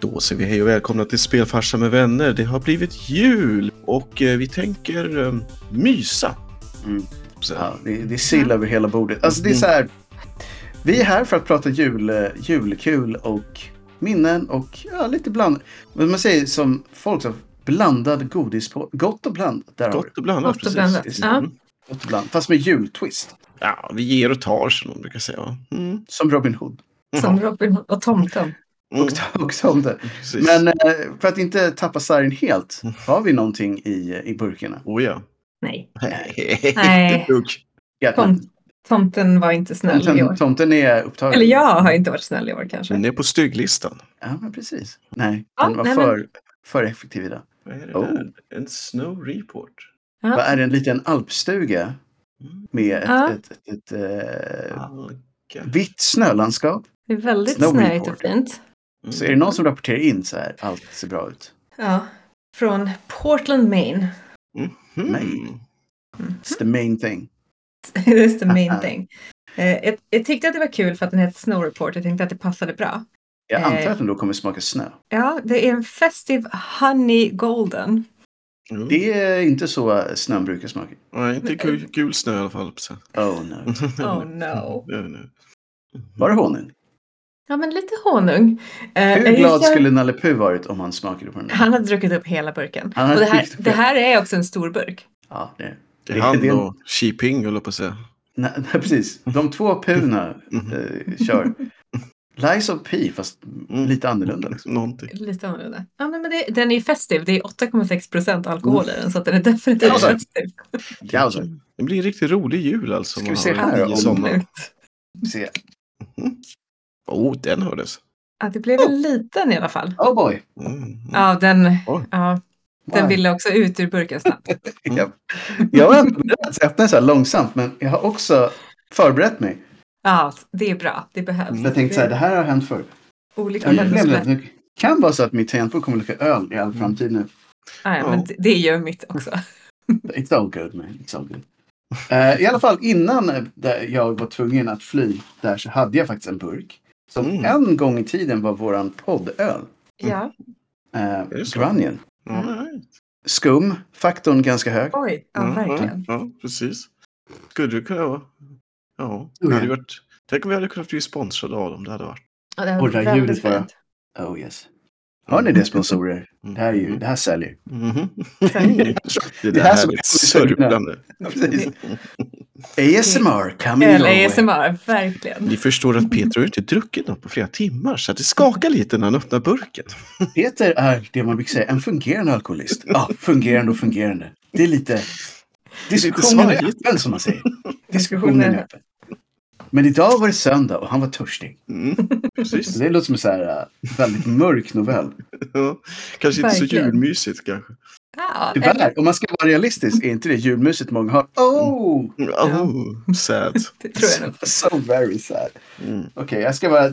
Då säger vi hej och välkomna till Spelfarsa med vänner. Det har blivit jul och eh, vi tänker eh, mysa. Mm. Ja, det, det är sill över hela bordet. Alltså det är så här. Vi är här för att prata jul, eh, julkul och minnen och ja, lite bland... Men man säger som folk sa, blandad godis på... Gott och blandat. Där har du. Gott och blandat. Gott och blandat, precis. ja. Mm. Gott och blandat. Fast med jultwist. ja, vi ger och tar som de brukar säga. va? Mm. Som Robin Hood. Som Robin Hood och tomten. Mm. Och som det. Precis. Mm. Men eh, för att inte tappa sargen helt, har vi någonting i, i burkarna? Oh ja. Nej. Nej. Inte dugg. Gärna. Tom, tomten var inte snäll i Tomten, år. tomten är upptagen. Eller jag har inte varit snäll i år kanske. Den är på stygglistan. Ja, men precis. Nej, Ja, den var nej, men- för, för effektiv idag. Vad är det Oh. där? En snow report. Ja. Vad är det, en liten alpstuga Mm. med ett, Ja. ett, ett, ett, eh, Alga. vitt snölandskap? Det är väldigt Snowy snöigt och Porter. fint. Så är det någon som rapporterar in så här, allt ser bra ut. Ja. Från Portland, Maine. Mhm. Nej. Mm. It's the main thing. That's the main Aha. thing. Eh, jag, jag tyckte att det var kul för att den hette Snow Report. Jag tänkte att det passade bra. Jag Eh. antar att den då kommer smaka snö. Ja, det är en Festive Honey Golden. Jo. Det är inte så snön brukar smaka. Mm. Nej, inte gul, gul snö i alla fall. Så. Oh no. Oh no. Ja, nu. Var det honung? Ja, men lite honung. Eh, Hur glad jag gillar- skulle Nalle Puh varit om han smakade på den? där? Han hade druckit upp hela burken. Han hade Och det, här, druckit upp det hela. här är också en stor burk. Ja, det. Det är han det- och Xi Jinping, höll jag på att säga. Nej, nej, precis. De två Puhna Mhm. eh, kör. Lies of P, fast Mm. lite annorlunda. Liksom. Någonting. Lite annorlunda. Ja, nej, men det, den är ju festiv. Det är 8,6 procent alkohol i den, så att den är definitivt Ja, så. festiv. Ja, alltså. Det blir en riktigt rolig jul alltså. Ska man vi se har här i om- sommar. Absolut. Se. Oh, den hördes. Ja, det blev en liten i alla fall. Oh boy. Mm. Mm. Ja, den, Oj. ja, den Wow. ville också ut ur burken snabbt. Jag, jag var ändå beredd att öppna den så här långsamt, men jag har också förberett mig. Ja, det är bra. Det behövs. Jag tänkte så här, det här har hänt förr. Olika Jag blev människor. rädd. Det kan vara så att mitt tangentbord kommer lukta öl i all framtid nu. Ja, ja, men det- det gör mitt också. It's all good, man. It's all good. Eh, I alla fall innan eh, där jag var tvungen att fly där så hade jag faktiskt en burk. Som Mm. en gång i tiden var våran poddöl. Ja, Eh, det så? Grunion. Ja, right. Skum, faktorn ganska hög. oj, ja, Mm, verkligen. Ja, ja, precis. Skulle det kunna vara. Ja, Oh, ja. det hade varit... Tänk om vi hade kunnat bli sponsrade av dem. Det hade varit. Ja, det här Och det var här väldigt ljudet bara. fint. Oh yes. Hör ni det sponsorer? Mm. Det här, är ju, det här säljer. Mhm. Sälj. Det Det där här här som- är sörplande. Precis. ASMR coming your Eller way. ASMR, verkligen. Ni förstår att Peter har inte druckit något på flera timmar så att det skakar lite när han öppnar burken. Peter är det man brukar säga en fungerande alkoholist. Ja, fungerande och fungerande. Det är lite... Diskussionen är svajigt. öppen som man säger. Diskussionen är öppen. Men idag var det söndag och han var törstig. Mm, precis. Det låter som en så här äh, väldigt mörk novell. Ja. Kanske inte så Verkligen. julmysigt kanske. Ja, eller- Tyvärr, om man ska vara realistisk, är inte det julmysigt många har? Oh! Oh, sad. det tror jag nog. So very sad. Mm. Okej, jag ska vara...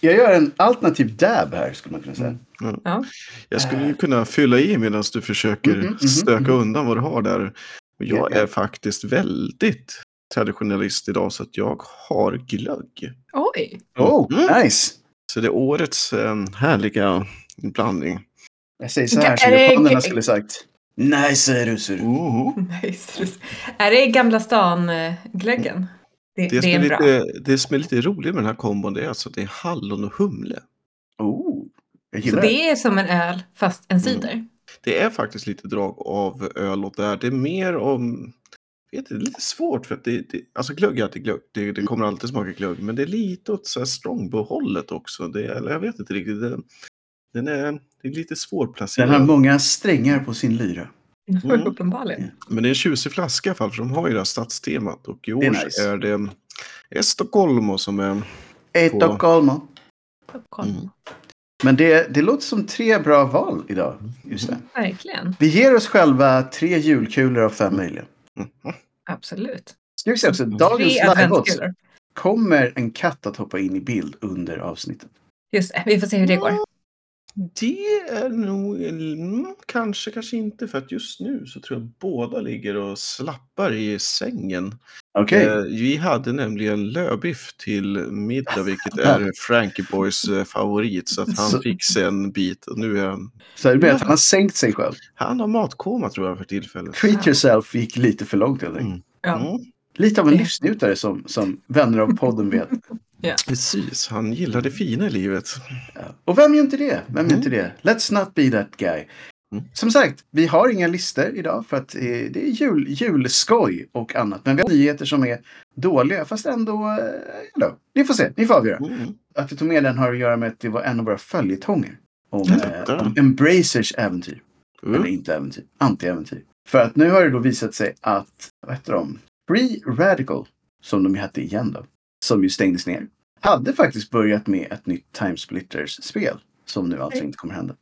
Jag gör en alternativ dab här, skulle man kunna säga. Ja. Jag skulle Eh. ju kunna fylla i medan du försöker Mhm, mhm, stöka undan vad du har där. Och jag Ja, ja. är faktiskt väldigt traditionalist idag så att jag har glögg. Oj, Oh, Mm. nice! Så det är årets eh, härliga blandning. Jag säger så här som Är det- japanerna skulle sagt. Nice är du, ser du. Oh. nice. Är det Gamla stan-glöggen? Det, Det, det, som är är en bra. lite, det som är lite roligt med den här kombon det är alltså att det är hallon och humle. Oh, jag Så gillar det. det är som en öl, fast en cider. Det är faktiskt lite drag av öl åt det här. Det är mer om... Jag vet inte, det är lite svårt för att det, det alltså glögg är alltid glögg. Det, det kommer alltid smaka glögg. Men det är lite åt så här strongbow-hållet också. Det, är- eller jag vet inte riktigt. Den, den är, det är lite Den svårplacerad. har många strängar på sin lyra. Mm. Uppenbarligen. Men det är en tjusig flaska i alla fall. För de har ju det här stadstemat. Och i år är är, nice. är det är Stockholm som är... På- Stockholm. Popcorn. Men det, det låter som tre bra val idag. Just det. Verkligen. Vi ger oss själva tre julkulor av fem möjliga. Absolut. Ska vi säga också, Tre dagens liveodds adventskulor. kommer en katt att hoppa in i bild under avsnittet. Just det, vi får se hur det går. Det är nog mm, kanske, kanske inte för att just nu så tror jag båda ligger och slappar i sängen. Okej. Eh, vi hade nämligen lövbiff till middag, vilket är Frankie Boys eh, favorit, så att han Så- fick sig en bit. Och nu är han, Så du menar att han har sänkt sig själv? han har matkoma tror jag för tillfället. Treat yourself gick lite för långt. Eller? Mm. Ja. Mm. Lite av en Det- livsnjutare som, som vänner av podden vet. Precis, han gillar det fina i livet. Ja. Och vem gör inte det? Vem gör Mm. inte det? Let's not be that guy. Mm. Som sagt, vi har inga listor idag för att eh, det är jul, julskoj och annat. Men vi har nyheter som är dåliga fast ändå... Eh, ändå. Ni får se, ni får avgöra. Mm. Att vi tog med den har att göra med att det var en av våra följetonger. Om, Ja, eh, där. om Embracers äventyr. Eller Mm. inte äventyr, anti-äventyr. För att nu har det då visat sig att, vad heter de? Free Radical, som de ju hette igen då, som ju stängdes ner, hade faktiskt börjat med ett nytt Time Splitters-spel. Som nu alltså inte kommer hända.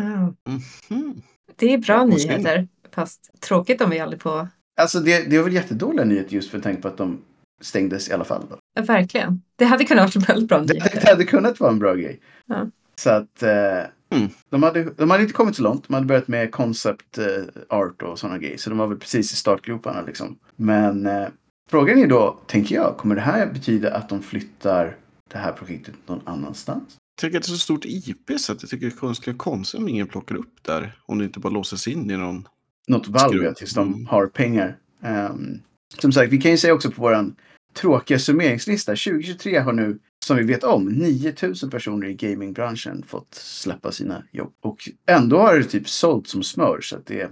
Ah, Mhm. Det är bra Ja, och sen- nyheter. Fast tråkigt om vi aldrig får... Alltså det, det var väl jättedåliga nyheter just för tanke på att de stängdes i alla fall. Då. Ja, verkligen. Det hade kunnat vara väldigt bra Det, nyheter. det hade kunnat vara en bra grej. Ja. Så att eh, Mm. de, hade, de hade inte kommit så långt. De hade börjat med concept eh, art och sådana grejer. Så de var väl precis i startgroparna liksom. Men eh, frågan är då, tänker jag, kommer det här betyda att de flyttar det här projektet någon annanstans? Jag tycker att det är så stort IP så att jag tycker det är konstigt, konstigt om ingen plockar upp där. Om det inte bara låses in i någon. Något valv Skruv. ja, tills de Mm. har pengar. Ehm, som sagt, vi kan ju säga också på våran tråkiga summeringslista. 2023 har nu, som vi vet om, 9000 personer i gamingbranschen fått släppa sina jobb. Och ändå har det typ sålt som smör. Så att det, är-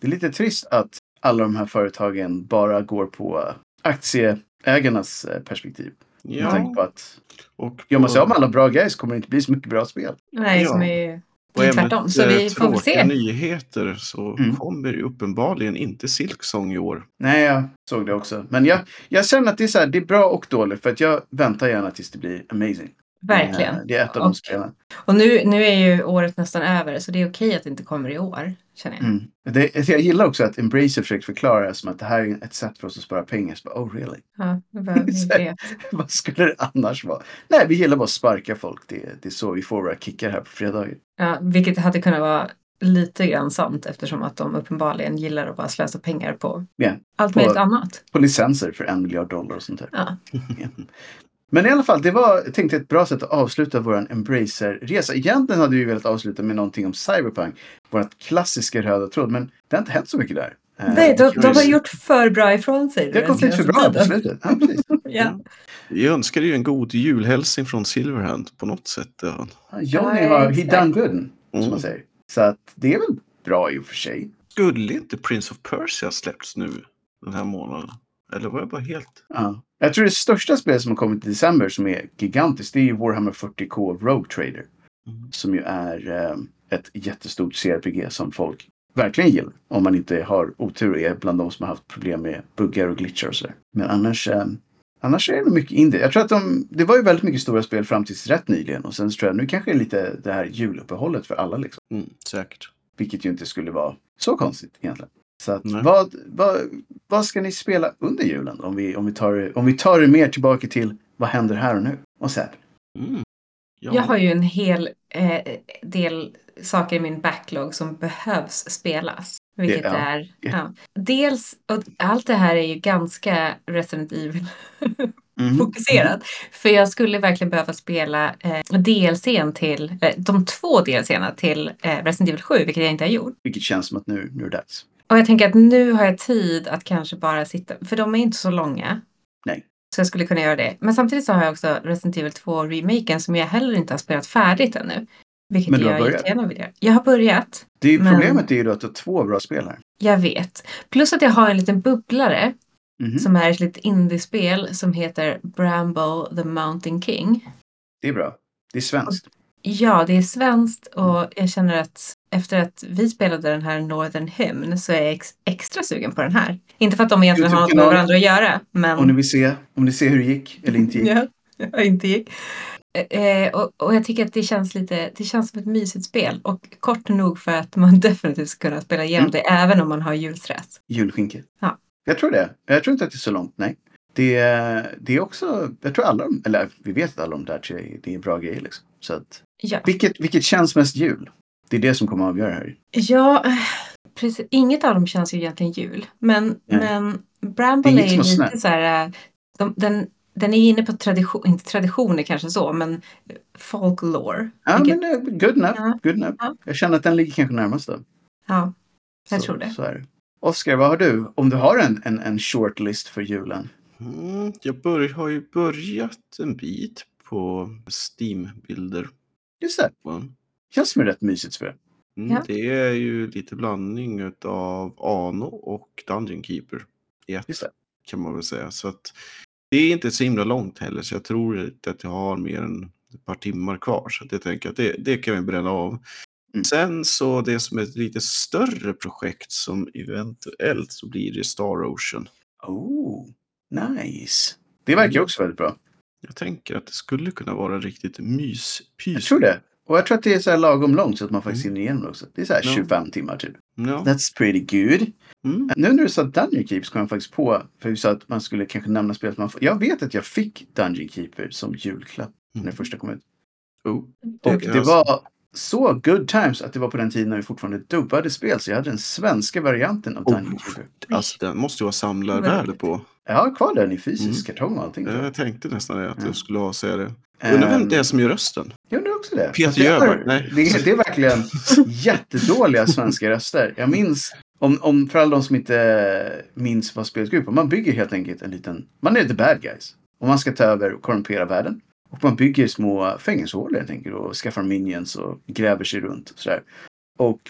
det är lite trist att alla de här företagen bara går på aktieägarnas eh, perspektiv. Med tanke Ja, på att och gör man sig av med alla bra guys kommer det inte bli så mycket bra spel. Nej, Ja. som är... på Det är tvärtom, ämnet, så vi eh, får väl tråkiga se. nyheter så Mm. kommer ju uppenbarligen inte Silksong i år. Nej, jag såg det också. Men jag, jag känner att det är, så här, det är bra och dåligt för att jag väntar gärna tills det blir amazing. Verkligen. Eh, Det är ett av Och- de spelen. Och nu, nu är ju året nästan över, så det är okej att det inte kommer i år, känner jag. Mm. Det, jag gillar också att Embracer försöker förklara det som att det här är ett sätt för oss att spara pengar. Så bara, oh really? Ja, det var- vi Exakt. vet. Vad skulle det annars vara? Nej, vi gillar bara att sparka folk. Det, det är så vi får våra kickar här på fredagar. Ja, vilket hade kunnat vara lite grann sant eftersom att de uppenbarligen gillar att bara slösa pengar på Ja, allt på- möjligt annat. På licenser för en miljard dollar och sånt där. Ja. Men i alla fall, det var jag tänkte ett bra sätt att avsluta vår Embracer-resa. Egentligen hade vi velat avsluta med någonting om Cyberpunk, vårt klassiska röda tråd, men det har inte hänt så mycket där. Eh, Nej, de, de har Embracer. gjort för bra ifrån Det sig. har den gått lite för bra senaste på tiden. slutet. Ja, precis. Ja. Jag önskar ju en god julhälsning från Silverhand på något sätt. Ja. Ja, Johnny har, he exakt. done good, som man Mm. säger. Så att det är väl bra i och för sig. Skulle inte Prince of Persia släppts nu den här månaden? Eller var jag bara helt... Ja. Jag tror det största spelet som har kommit i december som är gigantiskt, det är ju Warhammer 40K Rogue Trader. Mm. Som ju är eh, ett jättestort CRPG som folk verkligen gillar. Om man inte har otur och är bland de som har haft problem med buggar och glitchar och sådär. Men annars, eh, annars är det mycket indie. Jag tror att de, det var ju väldigt mycket stora spel fram tills rätt nyligen. Och sen så tror jag nu kanske det är lite det här juluppehållet för alla liksom. Mm, säkert. Vilket ju inte skulle vara så konstigt egentligen. Så att, Nej. vad, vad, vad ska ni spela under julen? Om vi, om, vi tar, det- om vi tar det mer tillbaka till vad händer här och nu? Och sen. Mm. Ja. Jag har ju en hel eh, del saker i min backlog som behövs spelas. Vilket Det- ja. är... Ja. Ja. Dels, och allt det här är ju ganska Resident Evil Mm. Mm. fokuserat. För jag skulle verkligen behöva spela eh, DLCn till, eh, de två DLCna till eh, Resident Evil 7, vilket jag inte har gjort. Vilket känns som att nu, nu är det dags. Och jag tänker att nu har jag tid att kanske bara sitta, för de är inte så långa. Nej. Så jag skulle kunna göra det. Men samtidigt så har jag också Resident Evil 2-remaken som jag heller inte har spelat färdigt ännu. Vilket Men du har jag börjat? jättegärna vill göra. Jag har börjat, Det är ju, Men- Problemet är ju då att du har två bra spel här. jag vet. Plus att jag har en liten bubblare Mhm. som är ett litet indiespel som heter Bramble the Mountain King. Det är bra. Det är svenskt. Ja, det är svenskt och jag känner att efter att vi spelade den här Northern Hymn så är jag ex- extra sugen på den här. Inte för att de egentligen har något med YouTube-kanal. varandra att göra, Om ni men vill se, om ni ser hur det gick eller inte gick. ja, jag inte gick. Eh, eh, och, och jag tycker att det känns lite, det känns som ett mysigt spel och kort nog för att man definitivt ska kunna spela Mm. igenom det även om man har julstress. Julskinka. Ja. Jag tror det. Jag tror inte att det är så långt, nej. Det, är- det är också, jag tror alla de, eller vi vet att alla de där tre, det är bra grejer liksom. Så att Ja. Vilket, vilket känns mest jul? Det är det som kommer att avgöra här. Ja, eh, precis. Inget av dem känns ju egentligen jul. Men, Nej. men Det är Bramble inget är ju som har snö. lite så här, äh, de, den, den är inne på tradition, inte traditioner kanske så, men folklore. Ja, Vilket- men eh, good enough. Ja. Good enough. Ja. Jag känner att den ligger kanske närmast då. ja jag så, tror det. Så är det. Oscar, vad har du? Om du har en, en, en shortlist för julen? Mm, jag bör, har ju börjat en bit på Steam-bilder. Just det, va? känns som ett rätt mysigt spel. Mm, Ja. Det är ju lite blandning av Ano och Dungeon Keeper. I ett, Just det. kan man väl säga. Så att, det är inte så himla långt heller, så jag tror inte att jag har mer än ett par timmar kvar. Så att jag tänker att det, det kan vi bränna av. Mm. Sen så det som är ett lite större projekt som eventuellt så blir det Star Ocean. Oh, nice. Det verkar ju också väldigt bra. Jag tänker att det skulle kunna vara riktigt mys Jag tror det. Och jag tror att det är så här lagom långt så att man faktiskt hinner igenom det också. Det är så här Ja. 25 timmar typ. Ja. That's pretty good. Mm. Nu när du sa Dungeon Keeper så kom jag faktiskt på, för vi sa att man skulle kanske nämna spelet man får. Jag vet att jag fick Dungeon Keeper som julklapp när det första kom ut. Oh. Och kan det jag- var så good times att det var på den tiden när vi fortfarande dubbade spel. Så jag hade den svenska varianten av Dungeon Oh, Keeper. Alltså den måste ju ha samlarvärde på. Jag har kvar den i fysisk Mm. kartong och allting. Jag tänkte nästan det, att Mm. jag skulle ha säga det. Eh, Undrar vem det Ehm. är som gör rösten? Jag undrar också det. Peter det, är, Jöback, nej. det, är, det är verkligen jättedåliga svenska röster. Jag minns, om, om, för alla de som inte minns vad spelet går ut på, man bygger helt enkelt en liten, man är the bad guys. Och man ska ta över och korrumpera världen. Och man bygger små fängelsehålor helt enkelt och skaffar minions och gräver sig runt och sådär. Och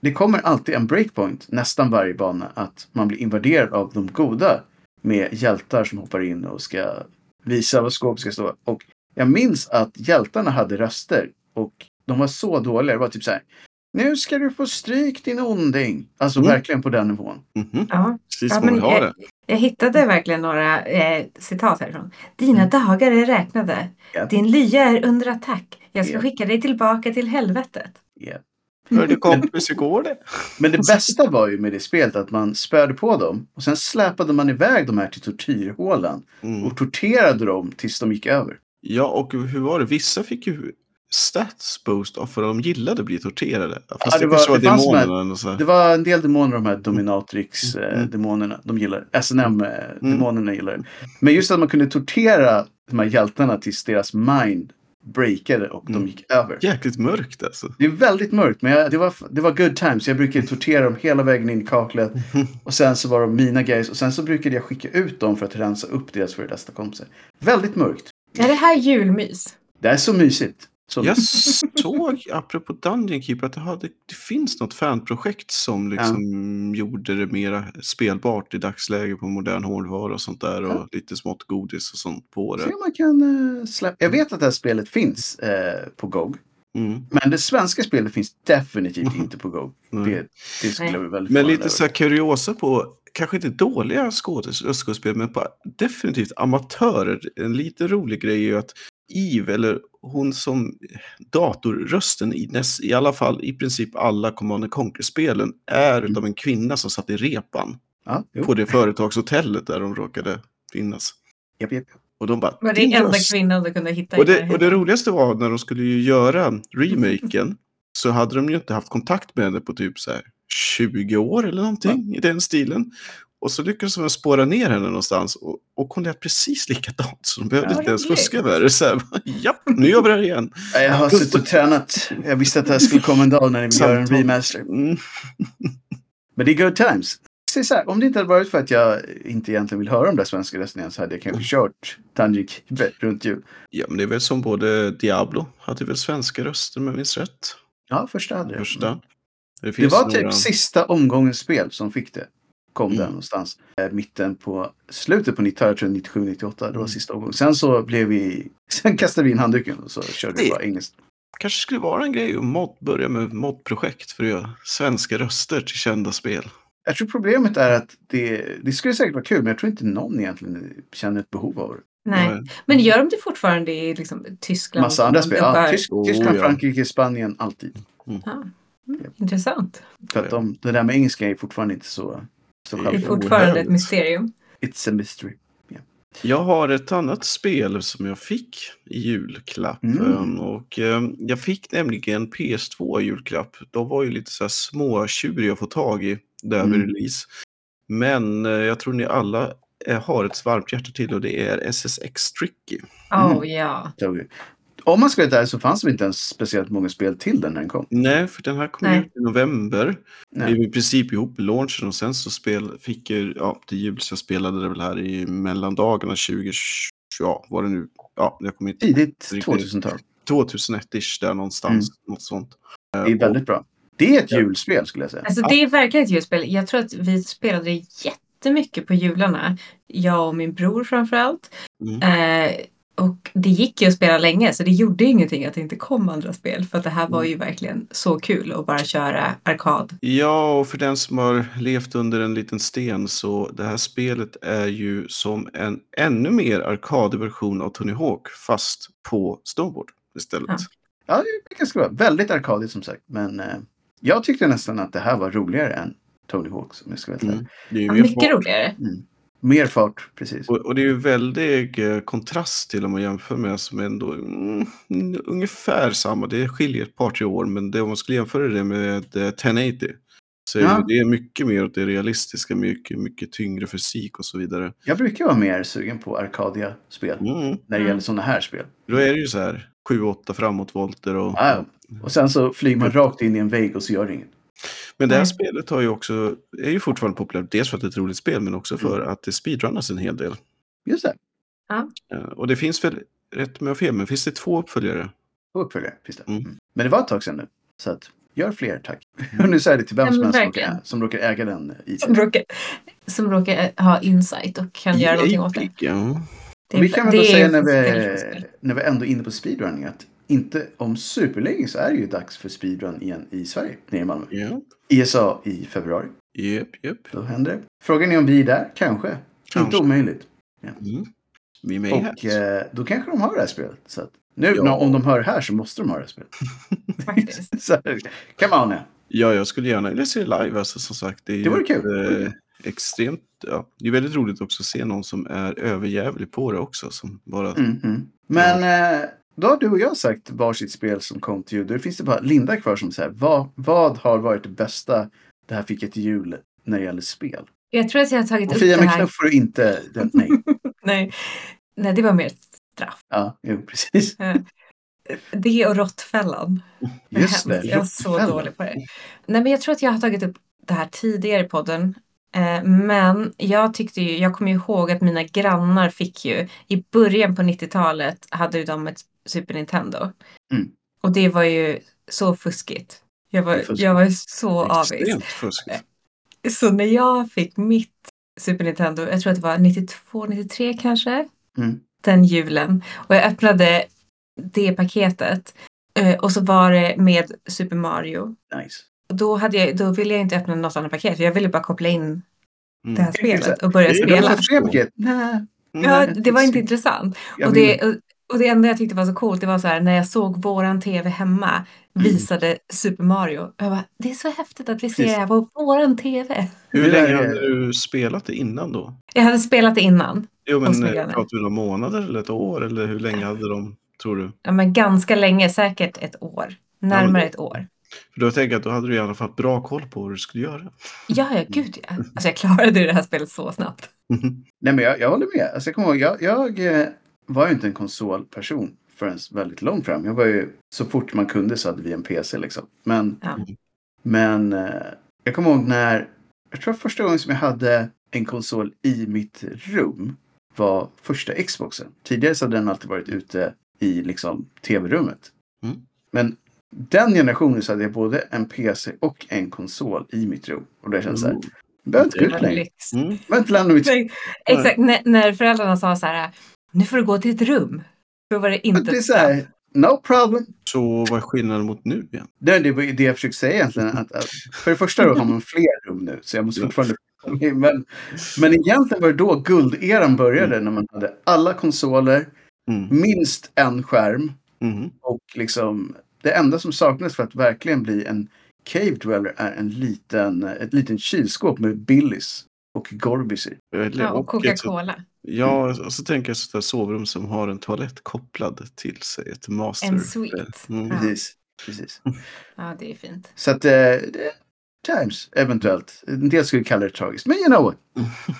det kommer alltid en breakpoint nästan varje bana att man blir invaderad av de goda med hjältar som hoppar in och ska visa vad skåp ska stå. Och jag minns att hjältarna hade röster och de var så dåliga. Det var typ så här. Nu ska du få stryk din onding. Alltså Mm. verkligen på den nivån. Mhm, Ja. Precis Ja, vad man vill men, ha eh, det. Jag hittade verkligen några eh, citat härifrån. Dina Mm. dagar är räknade. Ja. Din lya är under attack. Jag ska Ja. skicka dig tillbaka till helvetet. Ja. Hörde kompis, hur går det? Men det bästa var ju med det spelet att man spöade på dem och sen släpade man iväg de här till tortyrhålan Mm. och torterade dem tills de gick över. Ja, och hur var det? Vissa fick ju stats boost av för att de gillade att bli torterade. Fast Ja, det det, var- kanske var det fanns demonerna med- eller något sånt. Det var en del demoner, de här dominatrix-demonerna. Mm. de gillar SNM-demonerna eh, gillar det. Men just att man kunde tortera de här hjältarna tills deras mind breakade och de Mm. gick över. Jäkligt mörkt alltså. Det är väldigt mörkt, men jag, det, var, det var good times. Jag brukade tortera dem hela vägen in i kaklet. Och sen så var de mina guys. Och sen så brukade jag skicka ut dem för att rensa upp deras före detta kompisar. Väldigt mörkt. Är det här julmys? Det här är så mysigt. Så Jag mysigt. såg, apropå Dungeon Keeper, att det, hade, det finns något fanprojekt som liksom gjorde det mer spelbart i dagsläget på modern hårdvara och sånt där. Ja. Och lite smått godis och sånt på Se det. om man kan eh, släppa. Jag vet att det här spelet finns eh, på GOG. Mm. Men det svenska spelet finns definitivt Mhm. inte på GOG. Mm. Det, det skulle jag bli väldigt Men förvånad lite över. så här kuriosa på, kanske inte dåliga skådespel, skådespel men på definitivt amatörer. En lite rolig grej är ju att Eve, eller hon som eh, datorrösten i, näst, i alla fall i princip alla Command Conquer-spelen är utav en kvinna som satt i repan Ja, jo. på det företagshotellet där de råkade finnas. Japp, japp. Och de bara... Var det "Din enda röst." kvinnan du kunde hitta? i Och det, närheten? och det roligaste var när de skulle ju göra remaken så hade de ju inte haft kontakt med henne på typ så här 20 år eller någonting i den stilen. Och så lyckades de spåra ner henne någonstans och, och hon lät precis likadant så de behövde Ja, inte ens roligt. fuska med det. Så här, bara, Japp, nu gör vi det här igen. Nej, Jag har suttit och tränat. Jag visste att det här skulle komma en dag när ni vill göra en Samtal. remaster. Mm. Men det är good times. Så så här, om det inte hade varit för att jag inte egentligen vill höra de där svenska rösterna så hade jag kanske kört Dungeon Keeper runt jul. Ja, men det är väl som både Diablo hade väl svenska röster om jag minns rätt. Ja, första hade jag. Mm. Första. Det finns var typ några- sista omgångens spel som fick det. Kom Mm. där någonstans. Eh, mitten på slutet på 90-talet, tror jag 97, 98. Det var Mm. sista omgången. Sen så blev vi... Sen kastade vi in handduken och så körde vi Det- bara engelska. kanske skulle vara en grej att mod, börja med modprojekt för att göra svenska röster till kända spel. Jag tror problemet är att det, det skulle säkert vara kul, men jag tror inte någon egentligen känner ett behov av det. Nej. Men gör de det fortfarande i liksom, Tyskland? Massa andra spel. Ja, Dubbar? Tysk, Oh, Tyskland, ja. Frankrike, Spanien, alltid. Intressant. För att de, det där med engelska är fortfarande inte så, så Det är Det är Oerhört. självklart. fortfarande ett mysterium. It's a mystery. Jag har ett annat spel som jag fick i julklapp. Mm. Och eh, jag fick nämligen PS2 i julklapp. De var ju lite så här små tjuriga att få tag i där vid Mm. release. Men eh, jag tror ni alla eh, har ett varmt hjärta till och det är SSX Tricky. Mm. Oh ja. Tog- Om man ska vara där så fanns det inte ens speciellt många spel till den när den kom. Nej, för den här kom Nej. ut i november. Nej. Det är i princip ihop med launchen och sen så spel, fick jag, ja, till jul så jag spelade det väl här i mellandagarna 2020, ja, var det nu, ja, jag kommer inte Tidigt Riktigt. 2000-tal. 2001-ish där någonstans, något sånt. Mm. Det är väldigt bra. Det är ett julspel skulle jag säga. Alltså det är verkligen ett julspel. Jag tror att vi spelade jättemycket på jularna. Jag och min bror framförallt. Mm. Eh, och det gick ju att spela länge så det gjorde ingenting att det inte kom andra spel. För att det här var Mm. ju verkligen så kul att bara köra arkad. Ja, och för den som har levt under en liten sten så det här spelet är ju som en ännu mer arkadversion av Tony Hawk fast på snowboard istället. Ja. Ja, det är ganska bra. Väldigt arkadigt som sagt. Men eh, jag tyckte nästan att det här var roligare än Tony Hawk. Som jag ska vara helt Mm. ärlig. Det är ju Ja, mer mycket fart. roligare. Mer fart, precis. Och, och det är ju väldig eh, kontrast till om man jämför med som ändå mm, n- ungefär samma. Det skiljer ett par tre år, men det, om man skulle jämföra det med eh, 1080 så är Ja. det, det är mycket mer åt det realistiska, mycket, mycket tyngre fysik och så vidare. Jag brukar vara mer sugen på arkadia spel Mm. när det gäller sådana här spel. Ah, Då är det ju så här 7-8 framåtvolter och... Ja, och sen så flyger man Mm. rakt in i en vägg och så gör det inget. Men det här Nej. spelet har ju också, är ju fortfarande populärt, dels för att det är ett roligt spel men också för Mm. att det speedrunnas en hel del. Just det. Eh, Och det finns väl, rätt med fel, men finns det två uppföljare? Och uppföljare. Visst det. Mm. Mm. Men det var ett tag sedan nu. Så att, gör fler tack. Och nu säger jag det till vem Ja, som men helst som verkligen. råkar, som råkar äga den. eh, I. Som råkar, som råkar eh, ha insight och kan göra någonting åt det. Epic, Ja. det är- vi kan väl då det är säga när vi, väldigt kul. när vi ändå är inne på speedrunning att inte om superlänge så är det ju dags för speedrun igen i Sverige, nere i Malmö. Ja. ISA i februari. Japp, japp. Då händer det. Frågan är om vi är där? Kanske. Inte Kanske. omöjligt. Mm. Vi med Och eh, då kanske de har det här spelet. Så att nu Ja. när, om de hör här så måste de ha det här spelet. Faktiskt. Så, come on nu. Ja, jag skulle gärna vilja se det live. Alltså, som sagt, det är Det ju vore kul. ett, eh, extremt... Ja. Det är väldigt roligt också att se någon som är överjävlig på det också. Som bara, Mm, mm. Men eh, då har du och jag sagt varsitt spel som kom till jul. Då finns det bara Linda kvar som säger vad, vad har varit det bästa det här fick jag till jul när det gäller spel? Jag tror att jag har tagit Och upp Fia det med här. knuff får du inte. Den, nej. Nej. Nej, det var mer Ja, jo, precis. det och råttfällan. Vad Just det. hemskt. Jag är så Råttfällan. dålig på det. Nej, men jag tror att jag har tagit upp det här tidigare i podden. Eh, men jag tyckte ju, jag kommer ju ihåg att mina grannar fick ju, i början på 90-talet hade ju de ett Super Nintendo. Mm. Och det var ju så fuskigt. Jag var, Det är fuskigt. jag var ju så avis. Eh, extremt fusk. Så när jag fick mitt Super Nintendo, jag tror att det var 92, 93 kanske, Mm. den julen. Och jag öppnade det paketet eh, och så var det med Super Mario. Nice. Och Då, hade jag, då ville jag inte öppna något annat paket, för jag ville bara koppla in det här Mm. spelet och börja Det är Jag Hela. spela. har fler paket. Nej, Ja, jag det var tycker- inte intressant. jag Och vill- det, och- och det enda jag tyckte var så coolt, det var så här när jag såg våran tv hemma visade Super Mario. Jag bara, det är så häftigt att vi ser det Precis. här på våran tv. Hur Det där länge är- hade du spelat det innan då? Jag hade spelat det innan, Jo, Hos men min eh, granne. pratar vi om månader eller ett år? Eller hur länge hade de, tror du? ja, men ganska länge, säkert ett år. Närmare ett år. För då tänker jag att då hade du i alla fall bra koll på vad du skulle göra. Ja, ja, gud ja. Alltså jag klarade det här spelet så snabbt. Nej, men jag, jag håller med. Alltså, jag, kommer ihåg, jag, jag eh, var ju inte en konsolperson förrän väldigt långt fram. Jag var ju, så fort man kunde så hade vi en PC liksom. Men, Ja. men eh, jag kommer ihåg när, jag tror första gången som jag hade en konsol i mitt rum var första Xboxen. Tidigare så hade den alltid varit ute i liksom tv-rummet. Mm. Men den generationen så hade jag både en PC och en konsol i mitt rum. Och det kändes så här, Mm. jag behöver inte gå Det ut var längre. lyx. Mm. Jag behöver inte lämna mitt Nej, Exakt, när, när föräldrarna sa så här, nu får du gå till ett rum. Då var det Men inte det är ett så straff. här, no problem. Så vad är skillnaden mot nu igen? Det, det var ju det jag försökte säga egentligen. Att, att för det första då har man fler rum nu, så jag måste Ja. fortfarande... Men, men egentligen var det då gulderan började, när man hade alla konsoler, Mm. minst en skärm Mm. och liksom det enda som saknas för att verkligen bli en cave dweller är en liten, ett litet kylskåp med Billys och Gorbis i. Eller- Ja, och ett- typ Coca-Cola. Ja, och så tänker jag sådär sovrum som har en toalett kopplad till sig. Ett master. En suite. Mm. Ja. Precis. Precis. ja, det är fint. Så att eh, det, times, eventuellt. En del skulle kalla det tragiskt, men you know what.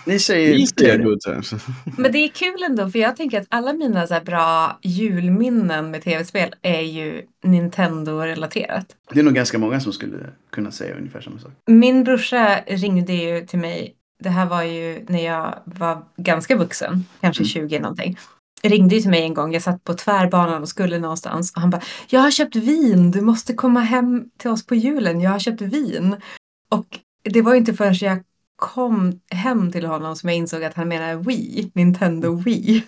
Ni säger... Vi säger good times. Men det är kul ändå för jag tänker att alla mina så här bra julminnen med tv-spel är ju Nintendo-relaterat. Det är nog ganska många som skulle kunna säga ungefär samma sak. Min brorsa ringde ju till mig, det här var ju när jag var ganska vuxen, kanske Mm. 20 någonting. Ringde ju till mig en gång, jag satt på tvärbanan och skulle någonstans och han bara Jag har köpt vin, du måste komma hem till oss på julen, jag har köpt vin. Och det var ju inte förrän jag kom hem till honom som jag insåg att han menar Wii, Nintendo Wii.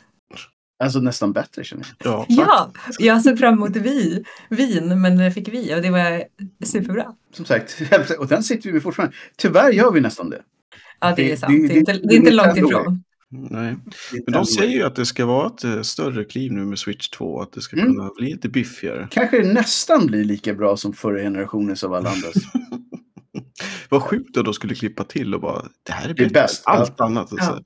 Alltså nästan bättre känner jag. Ja, Ja, jag såg fram emot Wii, vin, men jag fick Wii och det var superbra. Som sagt, och den sitter vi med fortfarande. Tyvärr gör vi nästan det. Ja, det Det- är sant. Det det- är inte, det- det är inte det- långt det- ifrån. nej. Men de säger ju att det ska vara ett eh, större kliv nu med Switch 2. Att det ska Mm. kunna bli lite biffigare. Kanske det nästan blir lika bra som förra generationens av alla andras. Vad sjukt att de skulle klippa till och bara det här är Det är bättre än bäst, allt annat. Ja. Så.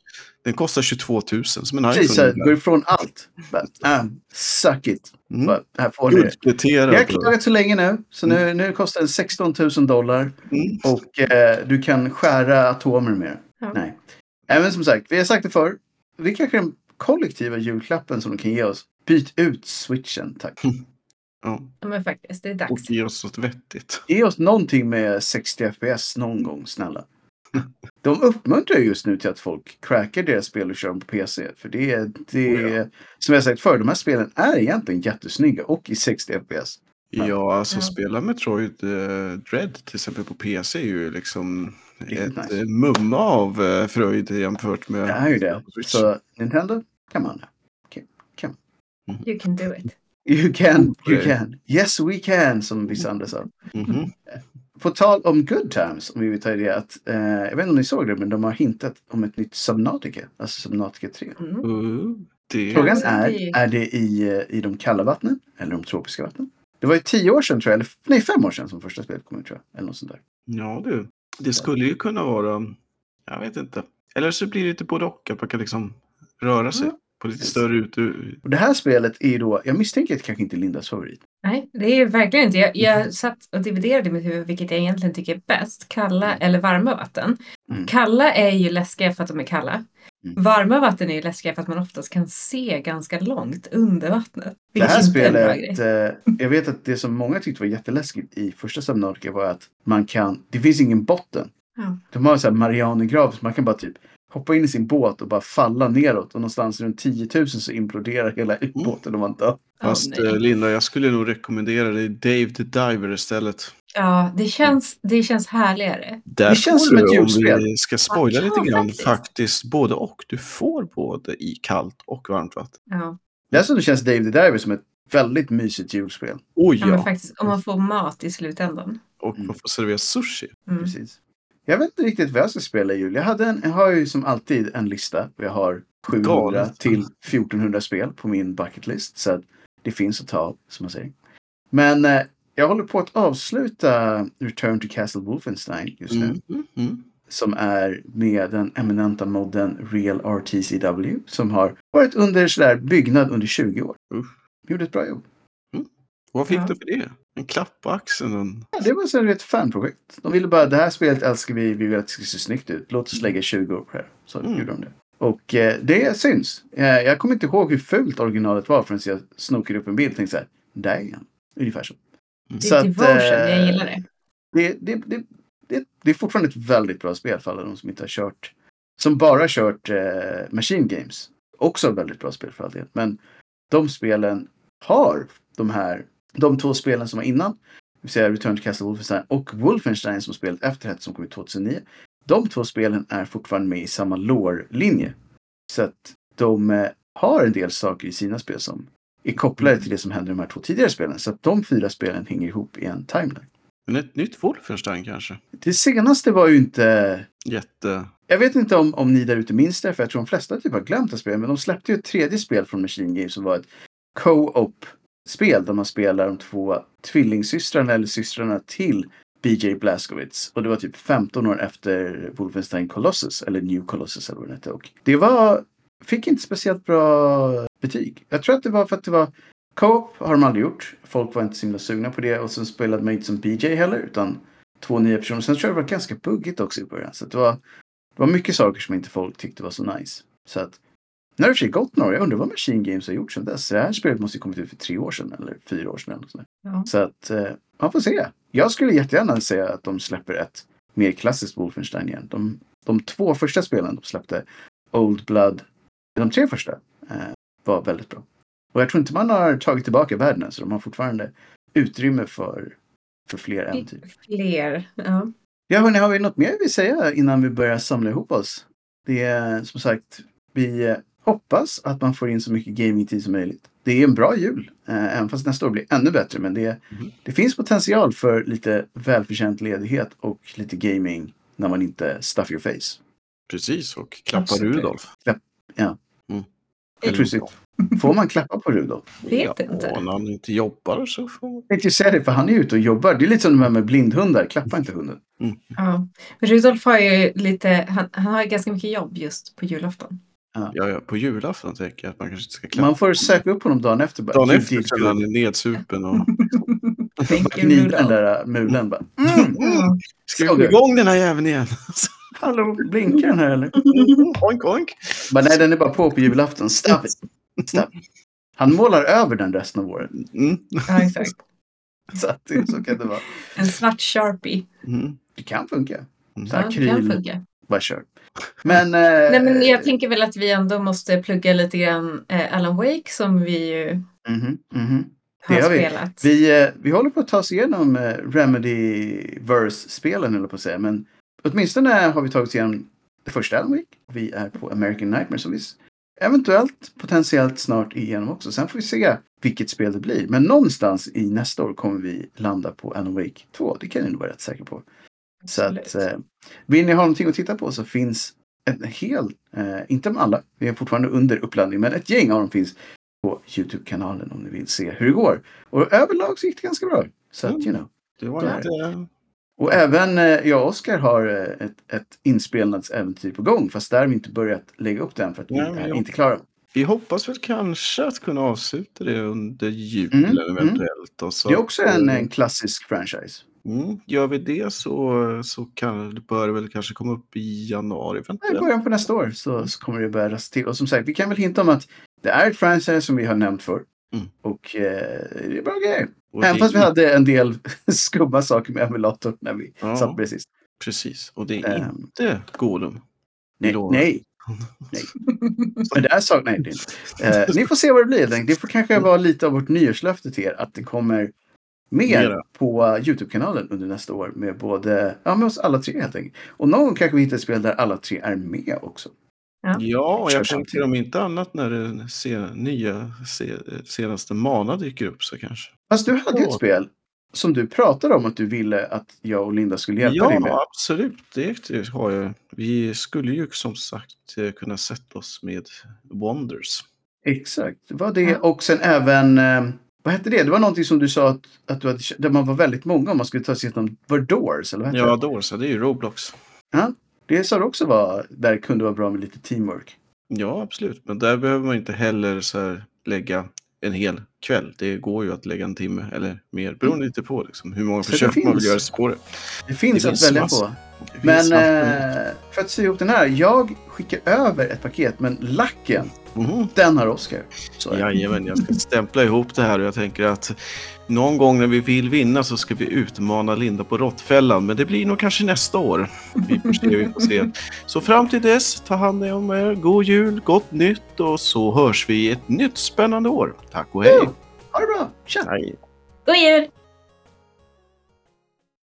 Den kostar 22 000 som en Precis, så här, går iPhone. ifrån allt. Bara, ah, suck it. Mm. Bara, här får ni det. Jag har Guldpläterad. klagat så länge nu, så nu, nu kostar den 16 000 dollar Mm. och eh, du kan skära atomer med den. Ja. Nej. Även som sagt, vi har sagt det förr. Det är kanske den kollektiva julklappen som de kan ge oss. Byt ut switchen, tack. Ja. Ja, men faktiskt, det är Och dags. ge oss något vettigt. Ge oss någonting med 60 FPS någon gång, snälla. De uppmuntrar ju just nu till att folk crackar deras spel och kör dem på PC. För det är, det är Oh som jag har sagt förr, de här spelen är egentligen jättesnygga och i 60 FPS. Ja. Ja, alltså Ja. spela Metroid eh, Dread till exempel på PC är ju liksom ett Riktigt nice. nice. mumma av eh, Fröjd jämfört med... Det är ju det. Switch. Så Nintendo, come on. You can do it. You can, you Okej. can. Yes we can, som vissa andra sa. Mhm. På tal om good times, om vi vill ta i det att, eh, jag vet inte om ni såg det, men de har hintat om ett nytt Subnautica, alltså Subnautica 3. Mm. Uh, det... Frågan Ja, det är ju- är, är det i, eh, i de kalla vattnen eller de tropiska vattnen? Det var ju tio år sedan tror jag, eller f- nej fem år sedan som första spelet kom ut tror jag. Eller något sånt där. Ja, du. Det skulle ju kunna vara... Jag vet inte. Eller så blir det lite både och. Att man kan liksom röra sig på lite Precis. större ute. Och det här spelet är ju då, jag misstänker att det kanske inte är Lindas favorit. Nej, det är ju verkligen inte. Jag, Mm. jag satt och dividerade i mitt huvud vilket jag egentligen tycker är bäst, kalla eller varma vatten. Mm. Kalla är ju läskiga för att de är kalla. Mm. Varma vatten är ju läskiga för att man oftast kan se ganska långt under vattnet. Det vilket här inte är en bra spelet, grej. eh, jag vet att det som många tyckte var jätteläskigt i första Subnautica var att man kan, det finns ingen botten. Ja. De har så här Marianergrav, så man kan bara typ hoppa in i sin båt och bara falla neråt och någonstans runt 10 000 så imploderar hela Oh. båten och man dör. Åh, Fast nej. eh, Linda, jag skulle nog rekommendera dig Dave the Diver istället. Ja, det känns, det känns härligare. Där Det känns får som du, ett Om julspel. vi ska spoila Ja, lite grann, faktiskt. faktiskt. både och. Du får både i kallt och varmt vatten. Ja. Dessutom känns Dave the Diver som ett väldigt mysigt julspel. Oj ja, Ja, Men faktiskt, om man får mat i slutändan. och man får servera sushi. Mm. Precis. Jag vet inte riktigt vad jag ska spela i jul. Jag, hade en, jag har ju som alltid en lista. Jag har 700 Galet. till 1400 spel på min bucket list. Så att det finns att ta av, som man säger. Men eh, jag håller på att avsluta Return to Castle Wolfenstein just nu. Mm. Mm. Mm. Som är med den eminenta modden Real RTCW. Som har varit under sådär byggnad under 20 år. Usch. Gjorde ett bra jobb. Vad fick Ja. du för det? En klapp på axeln? En... Ja, det var så här ett fanprojekt. De ville bara, det här spelet älskar vi, vi vill att det ska se snyggt ut. Låt oss lägga 20 år på det här. Så Mm. gjorde de det. Och eh, det syns. Eh, jag kommer inte ihåg hur fult originalet var förrän jag snokade upp en bild och tänkte så här, där är han. Ungefär så. Mm. Det är Devotion, eh, jag gillar det. det, det, det, det, det är fortfarande ett väldigt bra spel för alla de som inte har kört, som bara har kört eh, Machine Games. Också ett väldigt bra spel för all del. Men de spelen har de här, de två spelen som var innan, det vill säga Return to Castle Wolfenstein och Wolfenstein som spelet efter det som kom ut 2009. De två spelen är fortfarande med i samma lore-linje. Så att de eh, har en del saker i sina spel som är kopplade till det som hände i de här två tidigare spelen. Så att de fyra spelen hänger ihop i en timeline. Men ett nytt Wolfenstein kanske? Det senaste var ju inte... Jätte... Jag vet inte om, om ni där ute minns det, för jag tror de flesta typ har glömt det spelet. Men de släppte ju ett tredje spel från Machine Games som var ett co-op-spel där man spelar de två tvillingsystrarna eller systrarna till BJ Blazkowicz. Och det var typ 15 år efter Wolfenstein Colossus, eller New Colossus eller vad det hette. Och det var Fick inte speciellt bra betyg. Jag tror att det var för att det var Co-op har de aldrig gjort. Folk var inte så himla sugna på det. Och sen spelade man inte som BJ heller utan två nya personer. Sen tror jag det var ganska buggigt också i början. Så det var, det var mycket saker som inte folk tyckte var så nice. Så att nu har det i gått några Jag undrar vad Machine Games har gjort sedan dess. Det här spelet måste ju kommit ut för tre år sedan eller fyra år sedan. Eller så. Ja. så att eh, man får se. Jag skulle jättegärna säga att de släpper ett mer klassiskt Wolfenstein igen. De, de två första spelen de släppte, Old Blood, de tre första, eh, var väldigt bra. Och jag tror inte man har tagit tillbaka världen så de har fortfarande utrymme för, för fler äventyr. Fler. Ja. Ja, hörni, har vi något mer vi vill säga innan vi börjar samla ihop oss? Det är som sagt, vi eh, hoppas att man får in så mycket gamingtid som möjligt. Det är en bra jul, eh, även fast nästa år blir ännu bättre. Men det, Mm-hmm. det finns potential för lite välförtjänt ledighet och lite gaming när man inte stuff your face. Precis, och klappar Absolut. Rudolf. Jag tror så. Får man klappa på Rudolf? Vet inte. Ja, när han inte jobbar så får man... Jag tänkte ju säga det, för han är ute och jobbar. Det är lite som de här med blindhundar. Klappa inte hunden. Ja. Men Rudolf har ju lite, han, han har ju ganska mycket jobb just på julafton. Ja, ja, på julafton tänker jag att man kanske inte ska klappa. Man får söka upp honom dagen efter. Bara, Dagen "You efter did känner han good." är nedsupen och... Thank you, Gnida den Rudolf. Mm. där äh, mulen bara. Mm. Ja. Ska vi igång den här jäveln igen? Hallå, blinkar den här eller? oink, oink. Bara, nej, den är bara på på julafton. Stop it. Stop it. Han målar över den resten av året. Mm. ja, exakt. Så, att, det- så kan det vara. En svart sharpie. Mm. Det kan funka. Mm. Så Ja, här, det kan akryl, funka. bara kör. Men, eh, Nej, men jag tänker väl att vi ändå måste plugga lite grann eh, Alan Wake som vi ju mhm, mhm. har Det har vi. spelat. Vi, eh, vi håller på att ta oss igenom eh, Remedy-verse-spelen, eller på att säga. Men åtminstone har vi tagit oss igenom det första Alan Wake. Vi är på American Nightmare som vi s- eventuellt, potentiellt snart är igenom också. Sen får vi se vilket spel det blir. Men någonstans i nästa år kommer vi landa på Alan Wake 2. Det kan ni nog vara rätt säkra på. Så att, Absolut. eh, vill ni ha någonting att titta på så finns en hel, eh, inte med alla, vi är fortfarande under uppladdning, men ett gäng av dem finns på Youtube-kanalen om ni vill se hur det går. Och överlag så gick det ganska bra. Så Mm. att, you know. Det var Där. inte... Och även eh, jag och Oskar har eh, ett, ett inspelningsäventyr på gång, fast där har vi inte börjat lägga upp den för att vi Nej, men är jag- inte klara. Vi hoppas väl kanske att kunna avsluta det under julen Mm, mm. eventuellt. Och så Det är också en, eh, en klassisk franchise. Mm, gör vi det så, så kan, det bör det väl kanske komma upp i januari I eventuellt. början på nästa år så, så kommer det börja rasa till. Och som sagt, vi kan väl hinta om att det är ett franchise som vi har nämnt för. Mm. Och eh, det är bra grejer. Och det- Även fast vi hade en del skumma saker med emulatorn när vi Ja. satt precis. Precis, och det är Ehm, inte Golum. nej, Lån. nej. nej. Men det är sak, nej, det är inte. Eh, ni får se vad det blir helt enkelt. Det får kanske vara lite av vårt nyårslöfte till er att det kommer mer Mera. på eh, Youtube-kanalen under nästa år med både, ja med oss alla tre helt enkelt. Och någon gång kanske vi hittar ett spel där alla tre är med också. Ja. Ja, och jag Kör tänker om inte annat när den se, nya se, senaste Mana dyker upp så kanske. Fast du hade ju ett Ja. spel som du pratade om att du ville att jag och Linda skulle hjälpa dig med. Ja, absolut. Det det har jag. Vi skulle ju som sagt eh, kunna sätta oss med Wonders. Exakt, det var det. Ja. Och sen även, eh, vad hette det? Det var någonting som du sa att, att du hade, där man var väldigt många om man skulle ta sig igenom var det Doors, eller vad hette Ja, det? då så. Det är ju Roblox. Det sa du också var, där det kunde vara bra med lite teamwork. Ja, absolut. Men där behöver man inte heller så här lägga en hel kväll. Det går ju att lägga en timme eller mer. Beroende lite på liksom, hur många Mm. Så det försök man vill finns. göra sig på det. Det finns Det att finns välja massor. på. Det Men finns massor. eh, för att sy ihop den här, jag skickar över ett paket, men lacken, Mhm. den har Oscar. Så är det. Jajamän, jag ska stämpla ihop det här och jag tänker att någon gång när vi vill vinna så ska vi utmana Linda på Råttfällan. Men det blir nog kanske nästa år. Vi får se, vi får se. Så fram till dess, ta hand om er. God jul, gott nytt och så hörs vi i ett nytt spännande år. Tack och hej! Ha det bra! Tja! Hej. God jul!